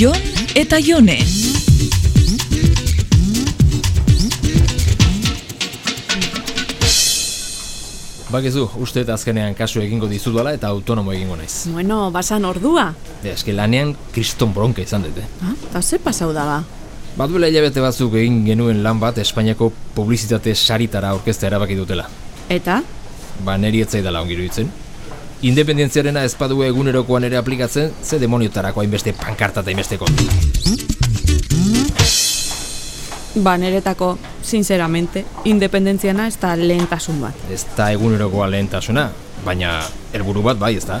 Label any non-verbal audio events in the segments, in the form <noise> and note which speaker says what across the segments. Speaker 1: Jon eta Jone.
Speaker 2: Bakizu, uste eta azkenean kasu egingo dizudala eta autonomo egingo naiz.
Speaker 3: Bueno, basan ordua.
Speaker 2: Ja, eske lanean kriston bronka izan dute.
Speaker 3: Ah, eta ze pasau da ba?
Speaker 2: Bat duela hilabete batzuk egin genuen lan bat Espainiako publizitate saritara aurkeztea erabaki dutela.
Speaker 3: Eta?
Speaker 2: Ba, neri etzai dala ongiru itzen. Independentziarena ez badu egunerokoan ere aplikatzen, ze demoniotarako hainbeste pankarta eta hainbeste kontu.
Speaker 3: Ba, niretako, sinceramente, independentziana ez da lehentasun bat.
Speaker 2: Ez da egunerokoa lehentasuna, baina helburu bat bai ez da.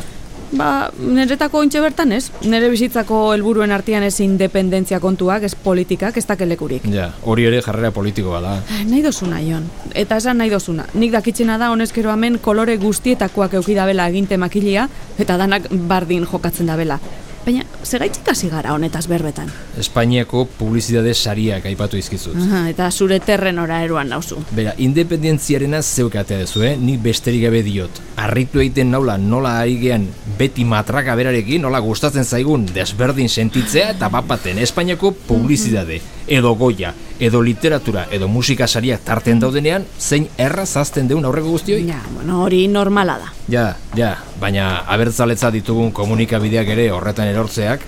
Speaker 3: Ba, niretako intxe bertan ez. Nire bizitzako helburuen artean ez independentzia kontuak, ez politikak, ez dakelekurik.
Speaker 2: Ja, hori ere jarrera politikoa da.
Speaker 3: Nahi dozuna, Jon. Eta esan nahi dozuna. Nik dakitzena da honezkero hemen kolore guztietakoak eukidabela aginte makilea eta danak bardin jokatzen dabela. Baina, zegaitzik hasi gara honetaz berbetan.
Speaker 2: Espainiako publizitate sariak aipatu izkizut.
Speaker 3: Aha, eta zure terrenora eroan nauzu.
Speaker 2: Bera, independentziarena zeukatea duzu, eh? Nik besterik gabe diot. Arritu egiten naula nola ari gean beti matraka berarekin, nola gustatzen zaigun desberdin sentitzea eta bapaten Espainiako publizitate, edo goia, edo literatura, edo musika sariak tarten daudenean, zein erraz azten deun aurreko guztioi?
Speaker 3: Ja, bueno, hori normala da.
Speaker 2: Ja, ja, baina abertzaletza ditugun komunikabideak ere horretan erortzeak,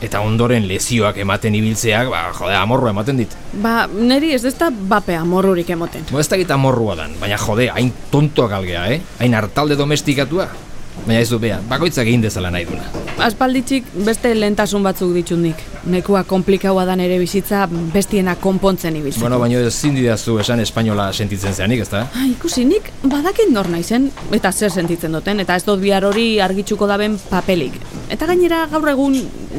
Speaker 2: eta ondoren lezioak ematen ibiltzeak, ba, jode, amorroa ematen dit.
Speaker 3: Ba, neri ez dezta bape amorrurik emoten.
Speaker 2: Bo ez dakit amorrua dan, baina jode, hain tontoak algea, eh? Hain hartalde domestikatua. Baina ez du, bea, bakoitzak egin dezala nahi duna.
Speaker 3: Aspalditxik beste lehentasun batzuk ditxundik. Nekua komplikaua da nere bizitza bestiena konpontzen ibiltzen.
Speaker 2: Bueno, ba- baina ezin didazu esan espainola sentitzen zeanik, ezta?
Speaker 3: Ah, ikusi nik badakit nor naizen eta zer sentitzen duten eta ez dut bihar hori argitsuko daben papelik. Eta gainera gaur egun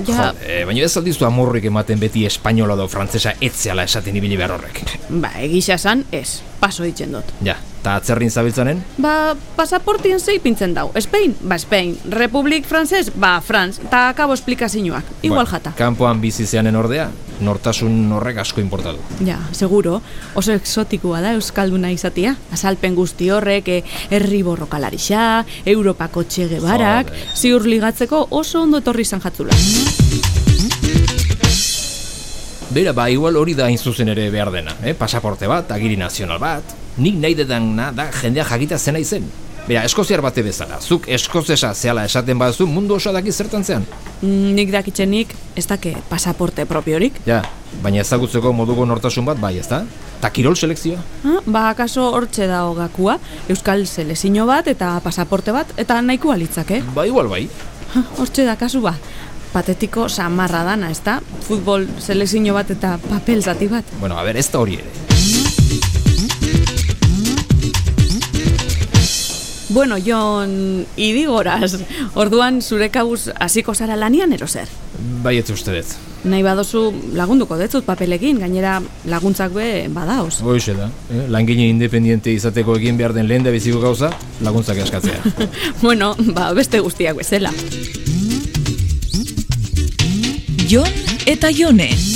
Speaker 3: ja,
Speaker 2: Jode, baina ez aldizu amorrik ematen beti espainola edo frantsesa etzeala esaten ibili behar horrek.
Speaker 3: ba, egisa esan, ez, paso ditzen dut.
Speaker 2: Ja, eta atzerrin zabiltzanen?
Speaker 3: Ba, pasaportien zei pintzen dau. Espain? Ba, Espain. Republik Frances? Ba, Franz. Ta akabo esplikazinuak. Igual
Speaker 2: Bueno,
Speaker 3: jata.
Speaker 2: Kanpoan bizi zeanen ordea, nortasun horrek asko importatu.
Speaker 3: Ja, seguro, oso exotikoa da Euskalduna izatea. Azalpen guzti horrek, eh, herri borrokalarixa, Europako txege barak,
Speaker 2: Jode.
Speaker 3: ziur ligatzeko oso ondo etorri izan jatzula.
Speaker 2: Bera, ba, igual hori da hain zuzen ere behar dena, eh? Pasaporte bat, agiri nazional bat, nik nahi dedana da jendea jakita zena izen. Bera, eskoziar bate bezala, zuk eskozesa zehala esaten baduzu mundu osoa daki zertan zean.
Speaker 3: Mm, Nik dakitzenik, ez dake pasaporte propiorik.
Speaker 2: Ja, baina ezagutzeko moduko nortasun bat bai, ezta? Ta kirol selekzioa?
Speaker 3: Ah, Ba, akaso hortxe dago gakua, Euskal selezio bat eta pasaporte bat, eta nahikoa litzake.
Speaker 2: Ba, igual bai.
Speaker 3: Ah, Hortxe da kasu ba, patetiko samarra dana, ez da? Futbol selezio bat eta papel zati bat.
Speaker 2: Bueno, a ber, ez da hori ere.
Speaker 3: Bueno, Jon, idigoraz, orduan zure kabuz hasiko zara lanian ero zer.
Speaker 2: Bai ez uste dut.
Speaker 3: Nahi badozu lagunduko detzut papelekin, gainera laguntzak be badaoz.
Speaker 2: Hoxe da, eh? langile independiente izateko egin behar den lehen da biziko gauza, laguntzak eskatzea.
Speaker 3: <laughs> bueno, ba, beste guztiak bezala.
Speaker 1: Jon eta Jone.